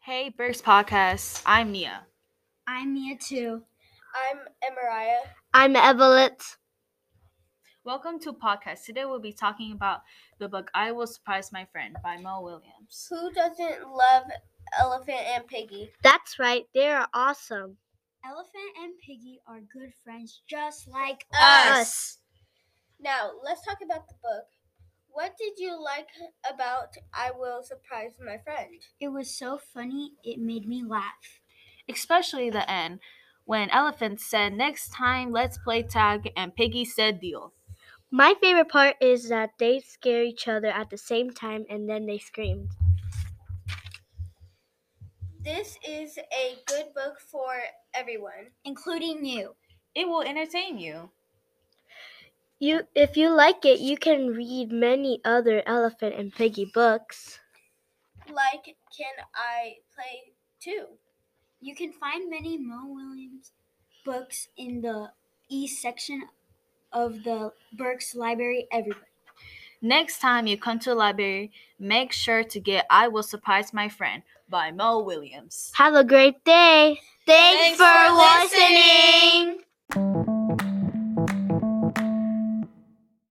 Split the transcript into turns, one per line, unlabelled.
Hey, Burks Podcast. I'm Nia.
I'm Mia too.
I'm Emariah.
I'm Evelyn.
Welcome to podcast. Today we'll be talking about the book I Will Surprise My Friend by Mel Williams.
Who doesn't love Elephant and Piggy?
That's right, they are awesome.
Elephant and Piggy are good friends just like
Us.
us.
Now, let's talk about the book. What did you like about I Will Surprise My Friend?
It was so funny, it made me laugh.
Especially the end, when Elephant said, Next time, let's play tag, and Piggy said, Deal.
My favorite part is that they scare each other at the same time and then they screamed.
This is a good book for everyone.
Including you.
It will entertain you.
You if you like it, you can read many other elephant and piggy books.
Like, can I play too?
You can find many Mo Williams books in the E section of the Burks Library everywhere.
Next time you come to the library, make sure to get I Will Surprise My Friend by Mel Williams.
Have a great day.
Thanks for
listening.